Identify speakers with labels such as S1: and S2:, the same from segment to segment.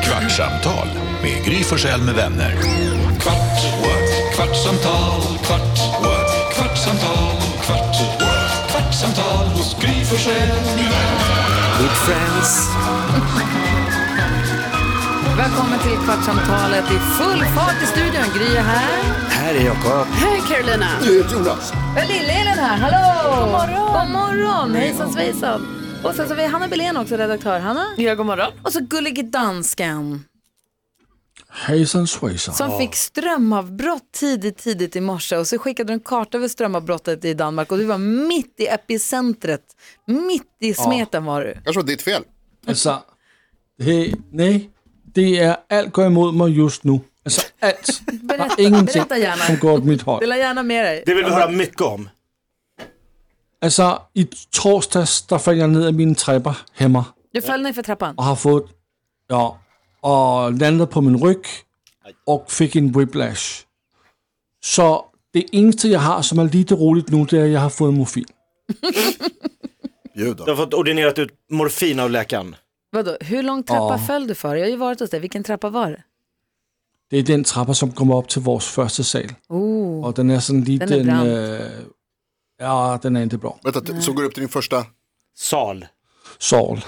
S1: Kvartsamtal med Gry Forssell med vänner. Kvart, what? kvartsamtal, kvart, what? kvartsamtal, kvart, what? kvartsamtal hos Gry Forssell med vänner.
S2: Good friends.
S3: Välkommen till Kvartsamtalet i full fart i studion. Gry är här.
S2: Här är Jakob.
S3: Hej Carolina.
S2: Jonas.
S3: Lill-Elin här, hallå! God morgon! God morgon, hejsan svejsan. Och sen så har vi Hanna Belén också, redaktör. Hanna? Ja, god morgon. Och så gullige dansken
S4: Hejsan svejsan.
S3: som fick strömavbrott tidigt, tidigt i morse. Och så skickade du en karta över strömavbrottet i Danmark och du var mitt i epicentret. Mitt i smeten var du.
S5: Jag tror det är ditt fel.
S4: Alltså, det, nej, det är allt går emot mig just nu. Alltså allt.
S3: Berätta,
S4: Ingenting
S3: berätta gärna.
S4: som går åt mitt håll.
S3: Dela gärna med dig.
S6: Det vill vi höra mycket om.
S4: Alltså, i torsdags där föll jag ner i mina trappor hemma
S3: Du föll ner för trappan.
S4: och har fått, ja, och landat på min rygg och fick en whiplash. Så det enda jag har som är lite roligt nu det är att jag har fått morfin.
S5: Ljud
S6: Du
S5: då.
S6: har fått ordinerat ut morfin av läkaren.
S3: Vadå, hur lång trappa
S4: Ja.
S3: föll du för? Jag har ju varit hos dig. Vilken trappa var det?
S4: Det är den trappa som kommer upp till vår första sal.
S3: Oh.
S4: Och den är sådan liten...
S3: Den är brant.
S4: øh, ja, den är inte bra.
S5: Vänta, t- så går du upp till din första...
S6: Sal.
S4: Sol.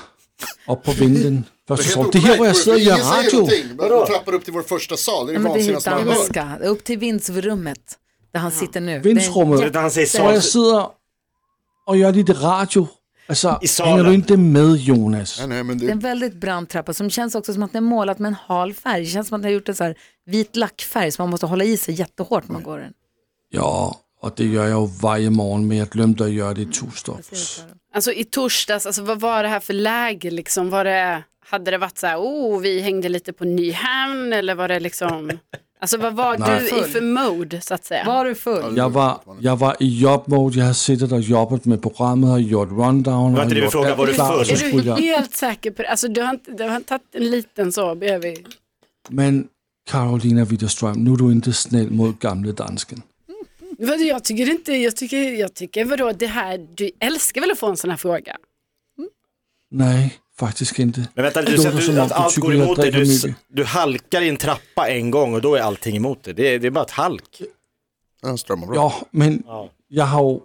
S4: Upp på vinden. Första sol. Det
S5: Helt
S4: här var jag
S5: okorrekt.
S4: sitter och gör
S5: Ingen säger
S4: radio.
S5: någonting. Men de trappar upp till vår första sal. Det är
S3: Ja,
S5: det
S3: men det är hit
S5: vansinnigaste man
S3: han
S5: hör.
S3: ska. Upp till vindsrummet där han sitter nu.
S4: Vindsrummet.
S3: Det är en
S6: När han säger
S4: Och
S6: sal.
S4: jag sitter och gör lite radio. Alltså,
S6: I salen.
S4: hänger du inte med Jonas?
S5: Nej, nej, men
S3: Det är
S5: du...
S3: en väldigt brant trappa som känns också som att den är målat med en hal färg. Det känns som att den har gjort en så här vit lackfärg som man måste hålla i sig jättehårt när man går den.
S4: Ja, och det gör jag ju varje morgon men jag glömde att göra det i torsdags.
S7: Alltså i torsdags, alltså, vad var det här för läge liksom? Var det, hade det varit så här, oh, vi hängde lite på Nyhamn eller var det liksom, alltså vad var
S4: Nej.
S7: du
S3: Full.
S7: i för mode så att säga?
S3: Var du full?
S4: Jag var, jag var i jobbmode, jag har suttit och jobbat med programmet, har gjort rundown,
S6: Var inte det du frågade, var du
S4: klart,
S6: full?
S4: så
S7: Är
S4: skulle
S7: du
S4: jag-
S7: helt säker på det? Alltså du har inte, du har inte tagit en liten så bredvid?
S4: Men Carolina Widerström, nu är du inte snäll mot gamle dansken.
S7: Vadå, jag tycker inte, jag tycker, jag tycker vadå, det här, du älskar väl att få en sån här fråga?
S4: Nej, faktiskt inte.
S6: Men vänta,
S4: Det
S6: du säger
S4: låter
S6: att,
S4: som
S6: du, att
S4: att du
S6: allt
S4: tycker
S6: går
S4: jag
S6: emot dig. Du,
S4: dricker
S6: s-
S4: mycket.
S6: du halkar i en trappa en gång och då är allting emot dig. Det är, det är bara ett halk.
S5: Ja, strömavbrott.
S4: Ja, men jag har ju,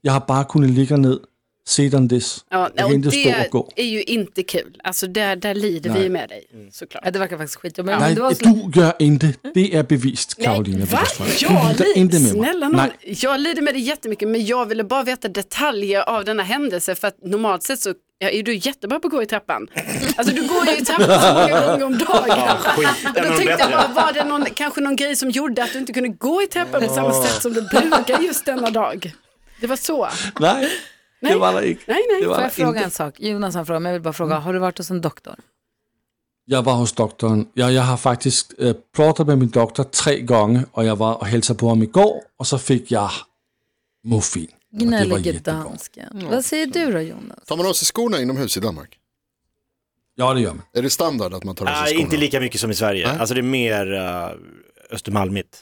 S4: jag har bara kunnat ligga ner sedan dess.
S7: Ja,
S4: jag
S7: och
S4: kan inte
S7: det
S4: stå och Mm. gå.
S7: är ju inte kul, alltså där, där lider vi med dig såklart.
S3: Ja, det verkar faktiskt skit. Men
S4: Nej,
S3: det var så...
S4: du gör inte. Det är bevist, Karolina
S7: Va?
S4: Widerström.
S7: Jag
S4: Du lider inte
S7: lider,
S4: med mig.
S7: snälla någon,
S4: Nej,
S7: jag lider med det jättemycket men jag ville bara veta detaljer av denna händelse för att normalt sett så ja, är du jättebra på att gå i trappan. Alltså du går ju i trappan så många gånger om dagen.
S6: Skit,
S7: Och
S6: en
S7: då
S6: av de
S7: tänkte jag
S6: bättre.
S7: bara, var det någon, kanske någon grej som gjorde att du inte kunde gå i trappan på samma sätt som du brukar just denna dag? Det var så.
S4: nej, det var det inte.
S7: Nej, nej.
S4: Det var
S3: Får jag
S4: det
S3: fråga
S4: inte. Mm.
S3: en sak? Jonas har en fråga, men jag vill bara fråga, har du varit hos en doktor?
S4: Jag var hos doktorn. Jag, jag har faktiskt äh, pratat med min doktor tre gånger och jag var och hälsade på honom igår och så fick jag morfin. Och det var
S3: Gnällige
S4: jättegott.
S3: dansken. Vad säger du då Jonas?
S5: Tar man av sig skorna inomhus i Danmark?
S4: Ja, det gör man.
S5: Är det standard att man tar av sig
S6: Nej,
S5: skorna?
S6: inte lika mycket som i Sverige.
S5: Alltså, Nej.
S6: Alltså det är mer uh, Östermalmigt.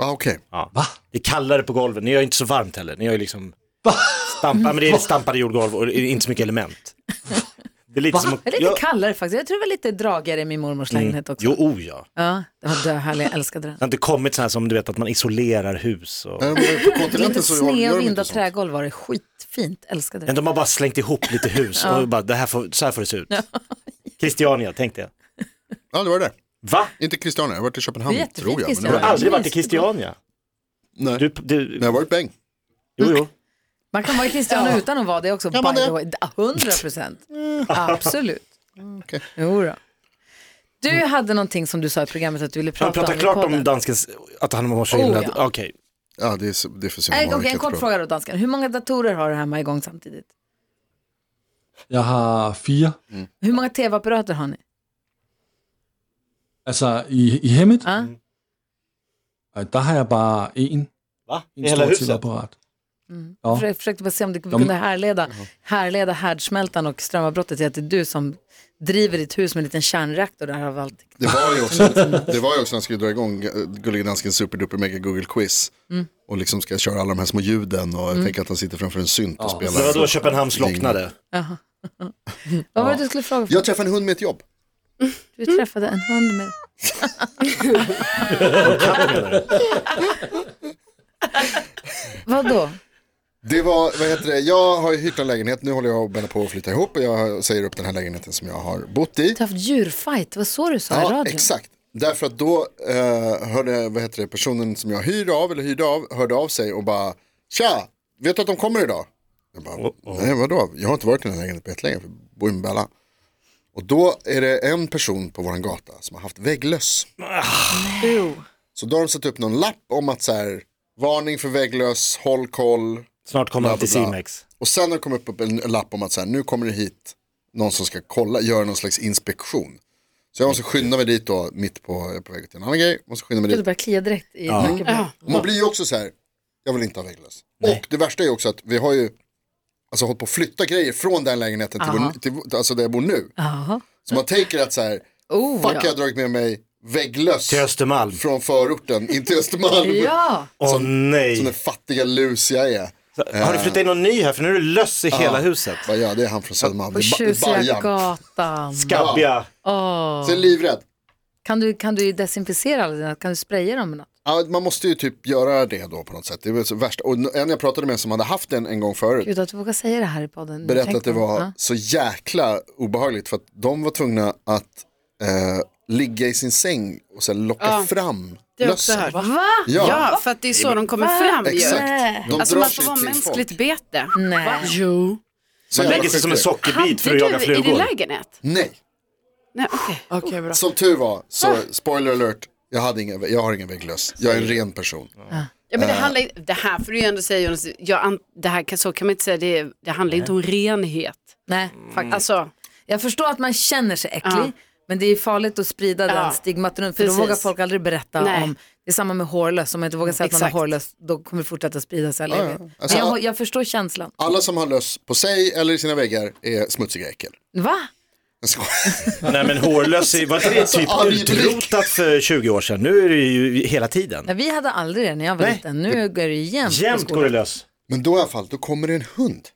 S5: Ah, okej.
S4: Va?
S6: Det är kallare på golven. Ni gör inte så varmt heller. Ni gör ju liksom stampa, men det är stampade jordgolv och det är inte så mycket element. Det är lite som att...
S3: Det är lite kallare faktiskt. Jag tror det var lite dragigare i min mormors lägenhet också.
S6: Jo, oh ja.
S3: Ja, det var döhärlig, jag älskade den.
S6: Det har inte kommit så här som du vet att man isolerar hus. Och...
S5: Nej, men eh, på kontinenten
S3: Lite
S5: så gör-
S3: sned
S5: gör
S3: och
S5: de
S3: vinda
S5: inte sånt.
S3: trägolv var det, skitfint, älskade
S6: Men
S3: det.
S6: de har bara slängt ihop lite hus och bara, det här får, så här får det se ut. Christiania tänkte jag.
S5: Ja, det var det där.
S6: Va?
S5: Inte Christiania, jag har varit
S3: Det
S5: i
S3: är
S5: Köpenhamn
S3: jättefint,
S5: tror jag. Men det
S6: Du
S5: var
S6: har
S3: Christiania.
S5: där.
S6: aldrig varit i Christiania?
S5: Nej,
S6: Du,
S5: men
S6: du,
S5: jag har varit bäng.
S6: jo, jo.
S3: Man kan vara Christiana utan att vara det också,
S5: Kan man
S3: by the
S5: det? Mm.
S3: way. 100 procent. Absolut.
S5: okej.
S3: Jo då. Du hade någonting som du sa i programmet att du ville
S6: Han
S3: prata om
S6: pratar
S3: i
S6: klart om
S3: podden.
S6: danskens, att han var så
S3: Oh,
S6: illa.
S3: ja.
S6: Okej,
S5: Ja, det är, så- det är för
S3: Nej,
S5: sent.
S3: Okej, en kort fråga då dansken. Hur många datorer har du hemma igång samtidigt?
S4: Jag har fyra.
S3: Hur många tv-apparater har ni?
S4: Altså i, i hemmet,
S3: Ja?
S4: øh, der har jeg bare en,
S6: va? I
S4: en
S6: hela
S4: stor
S6: huset?
S4: TV-apparat.
S3: För jag försökte bara se om du kunde härleda, härleda härdsmältan och strömavbrottet till att det är du som driver ditt hus med en liten kärnreaktor där av allt.
S5: Det var ju också, det var ju också när jag skulle dra igång eh, Gullige Danskens superduper mega Google quiz.
S3: Mm.
S5: Och liksom ska jag köra alla de här små ljuden och jag tänker att han sitter framför en synt och
S6: Det
S5: spelar.
S6: var då Köpenhamn slocknade.
S3: Vad var det du skulle fråga? För?
S5: Jag träffade en hund med ett jobb.
S3: Du träffade en hund med... Vadå?
S5: Det var, vad heter det, jag har ju hyrt en lägenhet, nu håller jag och Bella på att flytta ihop och jag säger upp den här lägenheten som jag har bott i.
S3: Du har haft djurfight, vad så du sa i
S5: Ja,
S3: radion?
S5: exakt. Därför att då eh, hörde vad heter det, personen som jag hyr av, eller hyrde av, hörde av sig och bara Tja, vet du att de kommer idag? Jag bara, nej vadå? Jag har inte varit i den här lägenheten på jättelänge, för jag bor i Bella. Och då är det en person på våran gata som har haft vägglöss. Så då har de satt upp någon lapp om att så här, varning för vägglöss, håll koll.
S6: Snart kommer han till
S5: Bla, bla, bla.
S6: Simex.
S5: Och sen har det kommit upp en lapp om att så här, nu kommer det hit någon som ska kolla, göra någon slags inspektion. Så jag måste skynda mig dit då, mitt på, jag är på väg till en annan grej, måste skynda mig
S3: Du
S5: dit.
S3: började klia direkt i nacken. på mig.
S5: Och man blir ju också så här, jag vill inte ha vägglöss. Och det värsta är ju också att vi har ju, alltså hållit på att flytta grejer från den lägenheten till, vår, till vår- alltså där jag bor nu.
S3: Jaha.
S5: Så man tänker att så här,
S3: Oh,
S5: fuck
S3: ja.
S5: jag har dragit med mig vägglöss
S6: Till Östermalm.
S5: från förorten in till Östermalm.
S3: Ja,
S6: Åh
S5: Som den
S6: nej.
S5: fattiga lus jag är.
S6: Har du flyttat in någon ny här? För nu är det löss i hela huset.
S5: Bara, ja, det är han från Södermalm,
S3: på
S5: det är ba-
S3: tjusiga
S5: Bajan.
S3: gatan.
S6: Gabbiga.
S5: Så jag är livrädd.
S3: Kan du, kan du desinficera alla dina, kan du spraya dem med något?
S5: Ja, man måste ju typ göra det då på något sätt. Det är väl så värst. Och en jag pratade med som hade haft den en gång förut
S3: Gud, att du vågar säga det här i podden. Nu
S5: berättade att
S3: tänker
S5: det
S3: jag.
S5: var
S3: Ja.
S5: så jäkla obehagligt för att de var tvungna att eh, ligga i sin säng och sen locka fram
S7: Det har jag också
S5: lössen.
S7: hört.
S3: Va?
S5: Ja,
S7: Ja, för att det är så de kommer fram ju.
S5: exakt. De
S7: Alltså
S5: drar
S7: man
S5: sig
S7: får vara
S5: till
S7: mänskligt
S5: folk.
S7: bete.
S3: Nej.
S7: Jo.
S5: Så
S6: Man
S5: jävla
S6: lägger sig
S5: sjukt
S6: som en
S5: det.
S6: sockerbit för
S7: Hade
S6: att jaga
S7: du i din
S6: flugor.
S7: lägenhet?
S5: Nej,
S7: Nej, okej.
S8: Okej, bra.
S5: som tur var,
S7: Ah.
S5: så spoiler alert, jag, hade inga, jag har ingen vägglöss. Jag är en ren person.
S7: Ja,
S6: Eh.
S7: men det, handlar, ju- det här får du ju ändå säga Jonas, jag, an- det här, kan- så kan man inte säga, det, det handlar inte om renhet.
S3: Nej,
S6: Mm.
S3: faktiskt.
S7: Alltså,
S3: Jag förstår att man känner sig äcklig,
S7: Ja.
S3: men det är farligt att sprida den stigmat runt, för
S7: Precis.
S3: då vågar folk aldrig berätta
S7: Nej.
S3: om, det är samma med hårlös, om man inte vågar säga att man
S7: Exakt.
S3: har hårlös, då kommer det fortsätta sprida sig.
S5: Ja,
S3: Ja,
S5: ja.
S3: Men
S5: Alltså,
S3: jag, jag förstår känslan.
S5: Alla som har löss på sig eller i sina väggar är smutsiga äckel.
S3: Va?
S5: Jag skojar.
S6: Nej men hårlöss, är- var inte det typ
S5: Arg blick.
S6: utrotat för 20 år sedan? Nu är det ju hela tiden.
S3: Nej, vi hade aldrig det när jag var
S6: Nej.
S3: liten, nu går det jämt. på
S6: Jämt
S3: skolan.
S6: går det löss.
S5: Men då i alla fall, då kommer det en hund.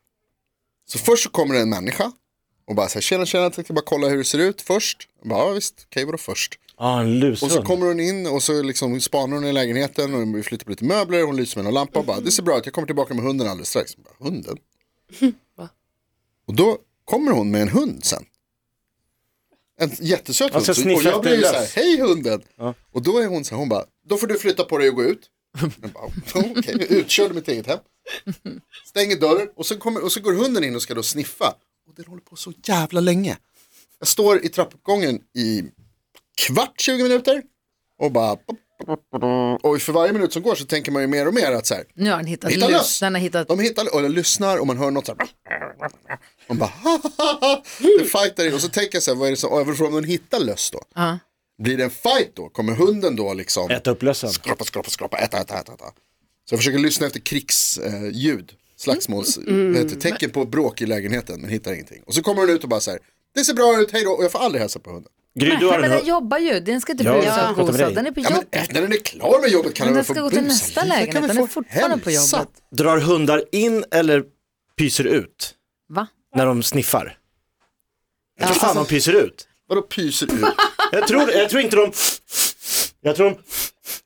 S5: Så först så kommer det en människa och bara så här, tjena tjena, jag tänkte bara kolla hur det ser ut först. Jag bara, ja visst, okej vadå först?
S6: Ja, en
S5: Och så
S6: lushund.
S5: kommer hon in och så liksom spanar hon i lägenheten och vi flyttar på lite möbler, hon lyser med en lampa och bara, det ser bra ut, jag kommer tillbaka med hunden alldeles strax. Jag Bara, hunden? Och då kommer hon med en hund sen. En jättesöt hund.
S6: Alltså,
S5: Så- Och
S6: sniffa
S5: jag blir ju
S6: efter
S5: så här,
S6: löss.
S5: hej hunden! Och då är hon så här, hon bara, då får du flytta på dig och gå ut. Jag bara, Okej, utkörd i mitt eget hem. Stänger dörren och så, kommer, och så går hunden in och ska då sniffa. Och den håller på så jävla länge. Jag står i trappuppgången i kvart, 20 minuter och bara... Och för varje minut som går så tänker man ju mer och mer att så här,
S3: Nu har den hittat
S5: Hitta
S3: lus,
S5: löss.
S3: den har hittat,
S5: de hittar, och jag lyssnar och man hör något så här. Man bara, det fightar in. Och så tänker jag så här, vad är det som, och jag vill fråga om den hittar löss då.
S3: Ja.
S5: Blir det en fight då? Kommer hunden då liksom
S6: Äta upp lössen.
S5: skrapa, skrapa, skrapa, äta, äta, äta, äta. Så jag försöker lyssna efter krigsljud, eh, ljud, slagsmåls,
S3: Mm.
S5: vad heter det, tecken på bråk i lägenheten men hittar ingenting. Och så kommer hon ut och bara så här, det ser bra ut, hej då, och jag får aldrig hälsa på hunden.
S6: Gry, du har
S3: nej,
S6: en
S3: men den
S6: hund.
S3: jobbar ju, den ska inte
S6: Ja,
S3: bry
S6: jag
S3: sig
S6: ska
S3: om
S6: prata med
S3: gosa,
S6: dig.
S3: den är på
S5: Ja, men
S3: jobbet.
S5: efter den är klar med jobbet kan
S3: Men den
S5: den väl
S3: ska
S5: få
S3: gå till
S5: busa
S3: nästa
S5: lite,
S3: lägenhet,
S5: kan väl
S3: den är
S5: få
S3: fortfarande på
S5: hälsa.
S3: jobbet.
S6: Drar hundar in eller pyser ut
S3: Va?
S6: när de sniffar?
S3: Ja,
S6: Vad fan, de pyser ut.
S5: Vadå pyser ut?
S6: Jag tror, jag tror inte de... Jag tror de...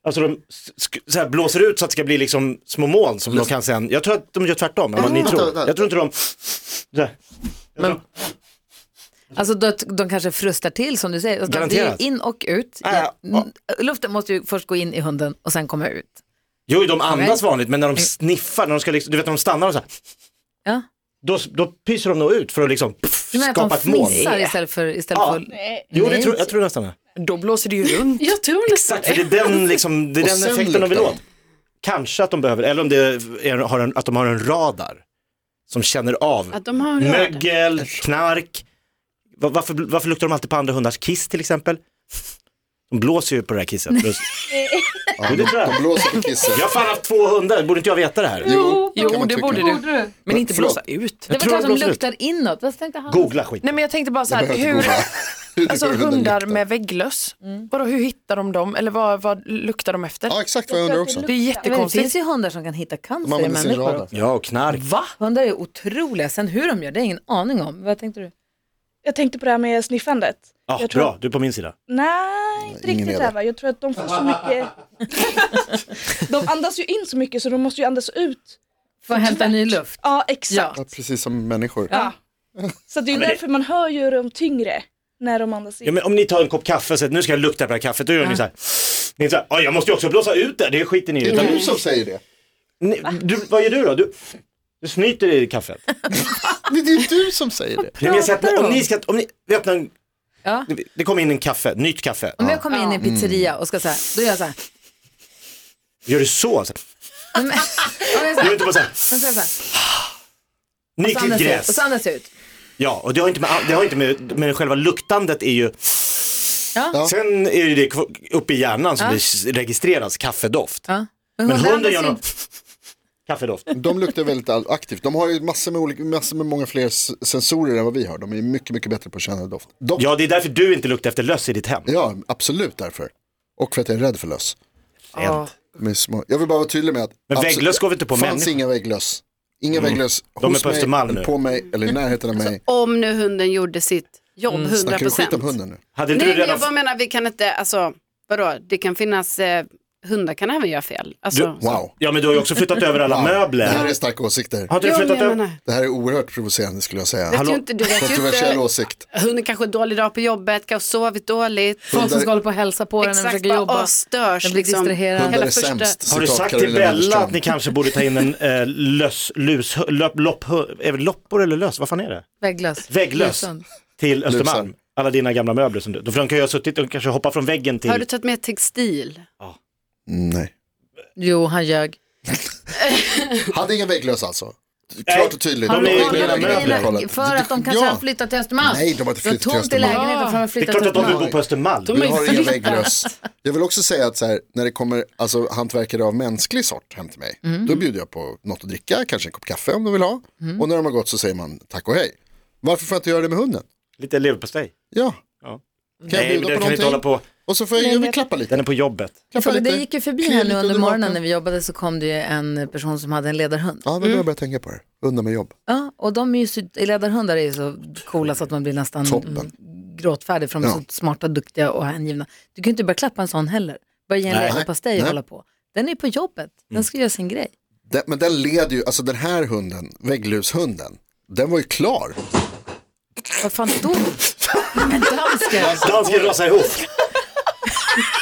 S6: Alltså de sk- så här blåser ut så att det ska bli liksom små moln som de kan sen... Jag tror att de gör tvärtom än vad ni
S5: Vänta,
S6: tror.
S5: vänta.
S6: Jag tror inte de... Så här.
S3: Alltså de, de kanske frustar till som du säger. Alltså,
S6: Garanterat.
S3: Det är in och ut.
S6: Ja, ja.
S3: Ja, n- Luften måste ju först gå in i hunden och sen komma ut.
S6: Jo, de andas vanligt, men när de sniffar, när de ska liksom, du vet när de stannar och så här,
S3: Ja.
S6: då, då pyser de nog ut för att liksom
S3: Du menar
S6: skapa
S3: att
S6: ett
S3: de
S6: moln.
S3: fnissar istället för... Istället
S6: Ja.
S3: för
S6: Jo, det
S3: Nej.
S6: tror, jag tror nästan det.
S8: Då blåser det ju runt.
S7: jag tror nästan
S6: För det är den, liksom, det är
S5: Och
S6: den
S5: sen
S6: effekten de vill
S5: luktar de.
S6: åt. Kanske att de behöver, eller om det är, har en, att de har en radar som känner av
S7: att de har röd.
S6: mögel, knark. Va- Varför, varför luktar de alltid på andra hundars kiss till exempel? De blåser ju på det här kisset.
S5: Ja,
S6: Jo, det tror jag.
S5: de blåser på kisset.
S6: Jag har fan haft två hundar, borde inte jag veta det här?
S5: Jo, kan
S8: Jo,
S5: man
S8: det
S5: tycka.
S8: borde du. Men inte
S5: Förlåt.
S8: blåsa ut.
S3: Det
S6: tror
S3: var
S6: de
S3: klart de
S6: blåser ut.
S3: luktar inåt. Vad tänkte han?
S6: Googla skit.
S8: Nej, men jag tänkte bara så här,
S5: Jag behöver inte
S8: hur,
S5: googla. Hur
S8: alltså
S5: hunden
S8: hundar
S5: luktar.
S8: med vägglöss,
S9: Mm.
S8: vadå, hur hittar de dem? Eller vad, vad luktar de efter?
S5: Ja, exakt vad jag undrar också.
S8: Det är
S3: Ja, men Det
S8: jättekonstigt.
S3: finns ju hundar som kan hitta
S5: De
S3: cancer i
S5: använder sin
S3: människor
S5: radar.
S3: också.
S6: Ja, och knark.
S3: Va? Hundar är otroliga. Sen hur de gör det har jag ingen aning om. Vad tänkte du?
S9: jag tänkte på det här med sniffandet.
S6: Ja,
S9: jag tror-
S6: bra, du är på min sida.
S9: Nej, inte
S5: ingen
S9: riktigt
S5: reda.
S9: Eva. Jag tror att de får så mycket... de andas ju in så mycket så de måste ju andas ut.
S3: För att hämta ny luft.
S9: Ja, exakt.
S5: Ja, precis som människor.
S9: Ja. Så det är ju
S6: men det-
S9: därför man hör ju dem tyngre när de andas in.
S6: Ja, men om ni tar en kopp kaffe och säger nu ska jag lukta på det här kaffet, då gör ni så här. Ni är så här, "Ja, jag måste ju också blåsa ut det, det skiter ni i.
S5: Det
S6: Utan,
S5: är du som säger det.
S6: ni, du, vad gör du då? Du, du snyter i kaffet.
S5: Det är ju du som säger det.
S6: Nej, men jag säger att, om ni ska, om ni, vi öppnar en,
S3: Ja.
S6: det kommer in en kaffe, nytt kaffe.
S3: Om jag kommer in i en
S6: Mm.
S3: pizzeria och ska så här, då gör jag så här.
S6: Gör du så? så
S3: Om jag- om jag så
S6: här. Gör du
S3: här-
S6: inte bara så här,
S3: om jag så här, så här, så
S6: nyklippt
S3: andas jag ut,
S6: gräs.
S3: och så andas jag ut.
S6: Ja, och det har inte med, det har inte med, men själva luktandet är ju,
S3: Ja.
S6: sen är ju det kv- uppe i hjärnan som det registreras, kaffedoft.
S3: Ja.
S6: Men hunden gör
S3: andas
S6: någon kaffedoft.
S5: De luktar väldigt all- aktivt. De har ju massor med, olika, massor med många fler s- sensorer än vad vi har. De är mycket, mycket bättre på att känna doft. Doft, ja.
S6: Ja, det är därför du inte luktar efter löss i ditt hem.
S5: absolut därför. Och för att jag är rädd för löss.
S6: Rent.
S5: De är små. Jag vill bara vara tydlig med att
S6: Men
S5: absolut-
S6: vägglöss går vi inte på
S5: fanns
S6: människor?
S5: inga vägglöss. Inga vägglöss
S6: De är
S5: hos
S6: på Östermalm
S5: mig,
S6: nu.
S5: på mig eller i närheten av mig.
S7: Om nu hunden gjorde sitt jobb
S6: Mm,
S7: 100%.
S5: Snackar du skit om hunden nu?
S6: Hade inte
S7: Nej,
S6: du
S7: men
S6: redan...
S7: jag bara menar, vi kan inte, alltså, vadå, det kan finnas, eh, hundar kan även göra fel. Alltså,
S6: Du-
S5: Wow.
S6: Ja, men du har ju också flyttat över alla
S5: Det här
S6: möbler.
S5: är starka åsikter.
S6: Har inte du
S7: Ja, men
S6: flyttat
S7: jag
S6: över...
S7: menar,
S5: Det här är oerhört provocerande skulle jag säga.
S7: vet
S6: Hallå?
S7: ju inte, du vet ju
S5: Kontroversiell
S7: inte,
S5: åsikt.
S7: hunden kanske har en dålig dag på jobbet, kanske har sovit dåligt.
S3: Folk som
S5: Hundar-
S3: ska hålla på och hälsa på den när den
S7: Exakt,
S3: försöker
S7: bara
S3: jobba.
S7: åh, störs
S3: Den blir
S7: liksom.
S3: distraherad.
S5: Hundar är
S7: Hela första-
S5: sämst.
S6: Har du
S5: citat
S6: sagt till
S5: Carolina
S6: Bella
S5: Widerström.
S6: att ni kanske borde ta in en eh, lös, lus, hö- löp, lopp, hö- är det loppor eller lös, vad fan är det?
S3: Vägglöss.
S6: Vägglöss.
S3: Lösan.
S6: Till Östermalm.
S5: Lusar.
S6: Alla dina gamla möbler som du, då för de kan ju ha suttit och kanske hoppa från väggen
S7: Har du
S6: till,
S7: tagit med textil?
S6: Mm.
S5: Mm, Nej.
S3: Jo, han ljög.
S5: Hade ingen vägglöss alltså?
S6: Nej.
S5: Klart och tydligt.
S6: De är-
S5: Jag har
S6: de är-
S5: redan
S6: grejerna
S5: kollat.
S3: För att de kanske
S5: Ja.
S3: har flyttat till Östermalm.
S5: Nej, de har inte
S3: Det var
S5: flyttat till
S3: tomt i
S5: Östermalm.
S3: lägenheten för att de har
S6: det är
S3: flyttat
S6: klart
S3: till
S6: att de vill bo
S3: Östermalm.
S6: på Östermalm.
S5: Vi har inga vägglöss. Jag vill också säga att så här, när det kommer alltså, hantverkare av mänsklig sort hem till mig, då bjuder jag på något att dricka, kanske en kopp kaffe om de vill ha. Och när de har gått så säger man tack och hej. Varför får jag inte göra det med hunden?
S6: Lite leverpastej.
S5: Ja.
S6: Ja.
S5: Kan jag
S6: Nej, men
S5: bjuda
S6: den
S5: på
S6: kan inte hålla
S5: någonting?
S6: på,
S5: Och så får jag, jag vill klappa lite.
S6: den är på jobbet.
S5: Klappa lite.
S3: Det gick ju förbi
S5: Klia
S3: här nu
S5: lite
S3: under morgonen när
S5: naken.
S3: vi jobbade så kom det ju en person som hade en ledarhund.
S5: Ja, men då har jag börjat tänka på det. Undan med jobb.
S3: Ja, och de är ju så, ledarhundar är ju så coola så att man blir nästan
S5: Toppen.
S3: mm, gråtfärdig för de är
S5: Ja.
S3: så smarta, duktiga och hängivna. Du kan ju inte bara klappa en sån heller. Bara ge en
S5: Nej.
S3: leverpastej och
S5: Nej. Mm.
S3: hålla på. Den är på jobbet, den ska göra sin grej.
S5: Den, men den leder ju, alltså den här hunden, vägglöshunden, den var ju klar. Ah.
S3: Vad fan stod Nej, Men dansken!
S6: Dansken rasar ihop.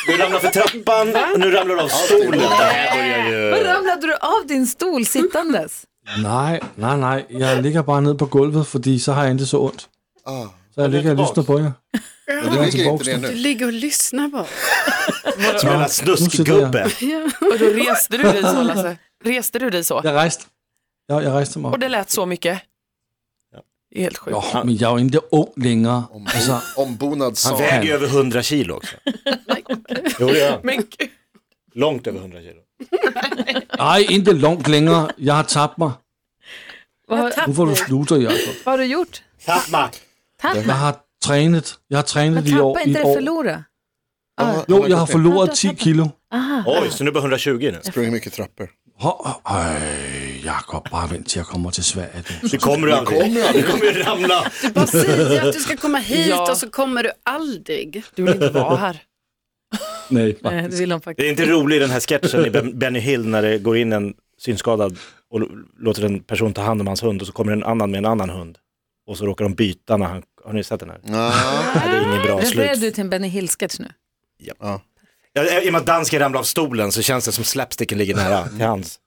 S6: Du ramlar för trappan, nu ramlar du av stolen. Det här börjar ju...
S3: Vad ramlade du av din stol sittandes?
S4: Nej, nej, nej. Jeg ligger bare nede på gulvet, fordi så har jeg ikke så ondt.
S5: Ah.
S4: Så jeg ligger og lysner på jer.
S5: Men det ligger inte det
S4: tillbaks.
S7: Du
S5: nu.
S7: ligger och lyssnar på.
S6: Som en snuskgubbe.
S8: Och då reste du dig så Lasse? Alltså, Reste du dig så?
S4: Jeg rejste. Ja, jeg rejste mig op.
S8: Och det lät så mycket? Det är helt sjukt.
S4: Jo, men jeg er jo ikke ung længere.
S5: Oh
S4: Altså,
S5: Ombonad
S6: Han
S5: sal.
S6: väger ju över 100 kilo också. jo, det gör han.
S8: Men gud.
S6: Långt över 100 kilo.
S4: nej, ikke langt længere. Jeg har tabt mig. Nu får du slutter, Jacob.
S3: Vad har du gjort?
S6: Tappa!
S4: Jeg har trænet. Jeg har trænet
S3: Men
S4: i år.
S3: tappa
S4: I
S3: inte det
S4: år.
S3: förlora.
S5: Ah,
S4: Jo, jeg har forloret 10 kilo.
S6: Oj, så nu är det 120 nu.
S5: Sprungit mycket trappor.
S4: Øj, Jacob, bare vent til jeg kommer til Sverige. Du.
S6: Det kommer du aldrig. Du kommer ju ramla.
S7: Du bara säger att du ska komma hit
S8: Ja.
S7: och så kommer du aldrig.
S8: Du vill inte vara här.
S4: Nej, bare.
S3: Nej, det vill de
S6: Det är
S3: faktiskt.
S6: inte roligt den här sketchen i Ben- Benny Hill när det går in en synskadad och l- låter en person ta hand om hans hund och så kommer en annan med en annan hund. Och så råkar de byta när han, har ni sett den här?
S5: Ah.
S6: Ja, det är ingen bra
S3: Refererar du
S6: slut.
S3: till en Benny Hill-sketch nu?
S6: Ja, I och med att dansken ramlade av stolen så känns det som slapsticken ligger nära till hans.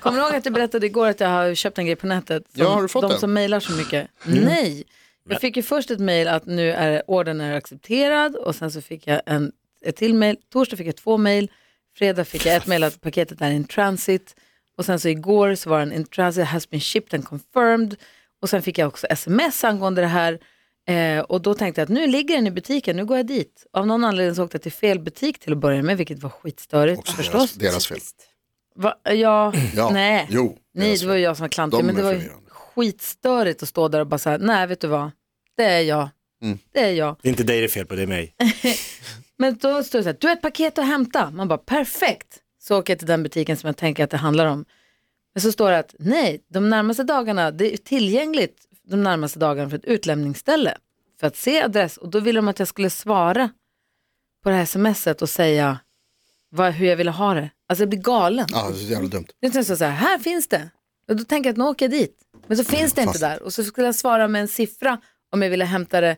S3: Kommer du ihåg att jag berättade igår att jag har köpt en grej på nätet? Som
S5: Ja, har du fått
S3: de
S5: den? Mm.
S3: som mejlar så mycket. Nej, jag fick ju först ett mejl att nu är ordern är accepterad och sen så fick jag en, ett till mejl. Torsdag fick jag två mejl, fredag fick jag ett mejl att paketet är in transit och sen så igår så var den in transit, has been shipped and confirmed och sen fick jag också sms angående det här. Eh, och då tänkte jag att nu ligger den i butiken, nu går jag dit. Av någon anledning så åkte jag till fel butik till att börja med, vilket var skitstörigt
S5: Också
S3: förstås.
S5: deras, deras fel.
S3: Va? Ja,
S5: Ja.
S3: nej.
S5: Jo,
S3: Nej,
S5: deras
S3: det var ju jag som var klantig,
S5: De
S3: men det
S5: är
S3: var ju
S5: förvirrande.
S3: skitstörigt att stå där och bara säga, nej vet du vad, det är jag,
S5: Mm.
S3: det är jag.
S6: Det är inte dig det är fel på, det är mig.
S3: Men då står det så här, du har ett paket att hämta, man bara perfekt, så åker jag till den butiken som jag tänker att det handlar om. Men så står det att nej, de närmaste dagarna, det är tillgängligt de närmaste dagarna för ett utlämningsställe för att se adress och då ville de att jag skulle svara på det här smset och säga vad, hur jag ville ha det. Alltså jag blir galen.
S5: Ja, Ah, det är så jävla dumt.
S3: Jag tänkte så här, här finns det. Och då tänker jag att nu åker jag dit. Men så finns det inte
S5: fast-
S3: där. Och så skulle jag svara med en siffra om jag ville hämta det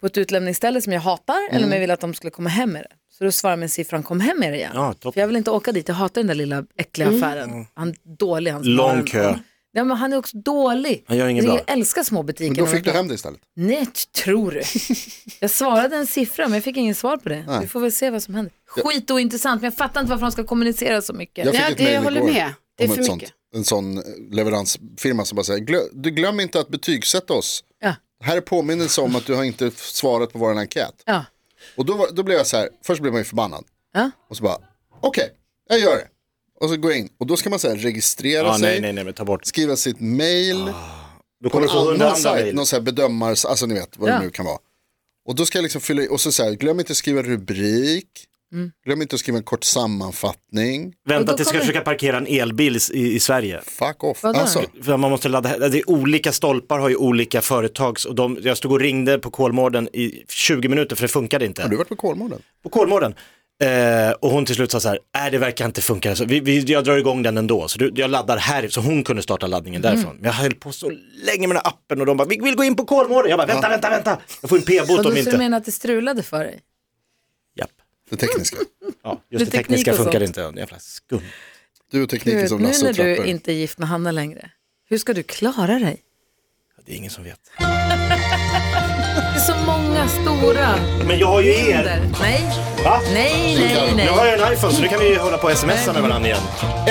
S3: på ett utlämningsställe som jag hatar eller
S6: Mm.
S3: om jag ville att de skulle komma hem med det. Så då svarade jag med siffran kom hem med det igen.
S6: Ja, toppen. Mm.
S3: För jag vill inte åka dit, jag hatar den där lilla äckliga affären. Han är dålig hans
S6: Lång
S3: barn.
S6: kö.
S3: Ja, men han är också dålig.
S6: Han gör inget
S3: jag
S6: bra.
S3: älskar små butiker.
S5: Men då
S3: när de
S5: fick du
S3: är bra.
S5: hem det istället.
S3: Nej, t- tror du? Jag svarade en siffra men jag fick ingen svar på det. Vi får väl se vad som händer. Skit ointressant men jag fattar inte varför de ska kommunicera så mycket.
S5: Jag fick
S7: Ja,
S5: ett
S7: det
S5: mejl
S7: jag håller
S5: igår
S7: med. Det är
S5: om
S7: för
S5: ett
S7: mycket.
S5: sånt, en sån eh, leveransfirma som bara säger, "Glö- du glöm inte att betygsätta oss.
S3: Ja.
S5: Här är påminnelse om att du har inte f- svarat på vår enkät.
S3: Ja.
S5: Och då, var, då blev jag så här, först blev man ju förbannad.
S3: Ja.
S5: Och så bara, okej, jag gör det. Och så går jag in. Och då ska man så här, registrera
S6: Ja,
S5: sig,
S6: nej, nej, nej, men ta bort.
S5: skriva sitt mail.
S6: Då
S5: på
S6: kommer du få
S5: en
S6: hundra
S5: annan
S6: andra
S5: sajt,
S6: mejl.
S5: någon så här bedömars, alltså ni vet vad
S3: Ja.
S5: det nu kan vara. Och då ska jag liksom fylla i, och så, så här, glöm inte att skriva rubrik,
S3: Mm.
S5: glöm inte att skriva en kort sammanfattning,
S3: Och då
S6: Vänta tills
S3: kommer-
S6: jag försöka parkera en elbil i, i Sverige.
S5: fuck off.
S3: Vadå?
S5: Alltså,
S6: För man måste ladda, det är olika stolpar har ju olika företags och de, jag stod och ringde på Kolmården i 20 minuter för det funkade inte.
S5: har du varit på Kolmården?
S6: på Kolmården. Eh, och hon till slut sa så här, nej det verkar inte funka, så vi, vi, jag drar igång den ändå. Så du, jag laddar här, så hon kunde starta laddningen
S3: Mm.
S6: därifrån. Men jag höll på så länge med den här appen och de bara, vi vill gå in på Kolmården. Jag bara, vänta, vänta, vänta. Jag får en p-bot
S3: Vadå,
S6: om
S3: så
S6: inte.
S3: du menar att det strulade för dig?
S6: Japp.
S5: Det tekniska.
S6: Ja, just det
S3: teknik
S6: tekniska
S3: och
S6: funkar
S3: sånt.
S6: inte, jävla skumt.
S5: Du och
S3: Du
S5: tekniken
S3: vet,
S5: som
S3: nu
S5: Lasse
S3: när
S5: och
S3: du
S5: trappor.
S3: inte är gift med Hanna längre, hur ska du klara dig?
S6: Det är ingen som vet.
S3: Det är så många stora
S6: Men jag har ju er.
S3: hinder. Nej,
S6: Va?
S3: nej, nej,
S6: Jag har
S3: nej.
S6: ju en iPhone så nu kan vi ju hålla på och smsa med varandra igen.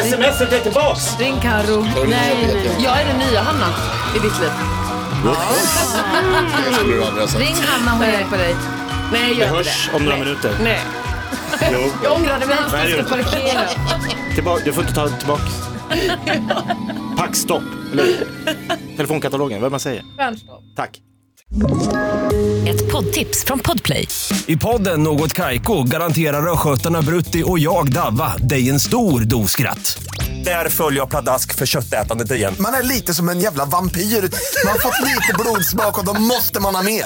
S6: Smset är tillbaks!
S3: Ring Carro.
S5: Nej, nej.
S8: Jag är den nya Hanna i ditt liv.
S5: Det skulle du aldrig ha sagt.
S3: Ring Hanna, hon hjälper dig.
S8: Nej, jag
S6: Vi
S8: gör inte
S6: hörs om några minuter.
S8: det. Nej.
S6: Jo.
S8: Jag ångrade mig.
S6: Nej, det gör du inte.
S8: Parkera.
S6: Tillbaka, du får inte ta tillbaka. Packstopp, eller hur? Telefonkatalogen, vad man säger. Tack.
S10: Ett poddtips från Podplay.
S11: I podden Något Kaiko garanterar östgötarna Brutti och jag, Davva, dig en stor dos skratt. Där följer jag pladask för köttätandet igen.
S2: Man är lite som en jävla vampyr. Man har fått lite blodsmak och då måste man ha mer.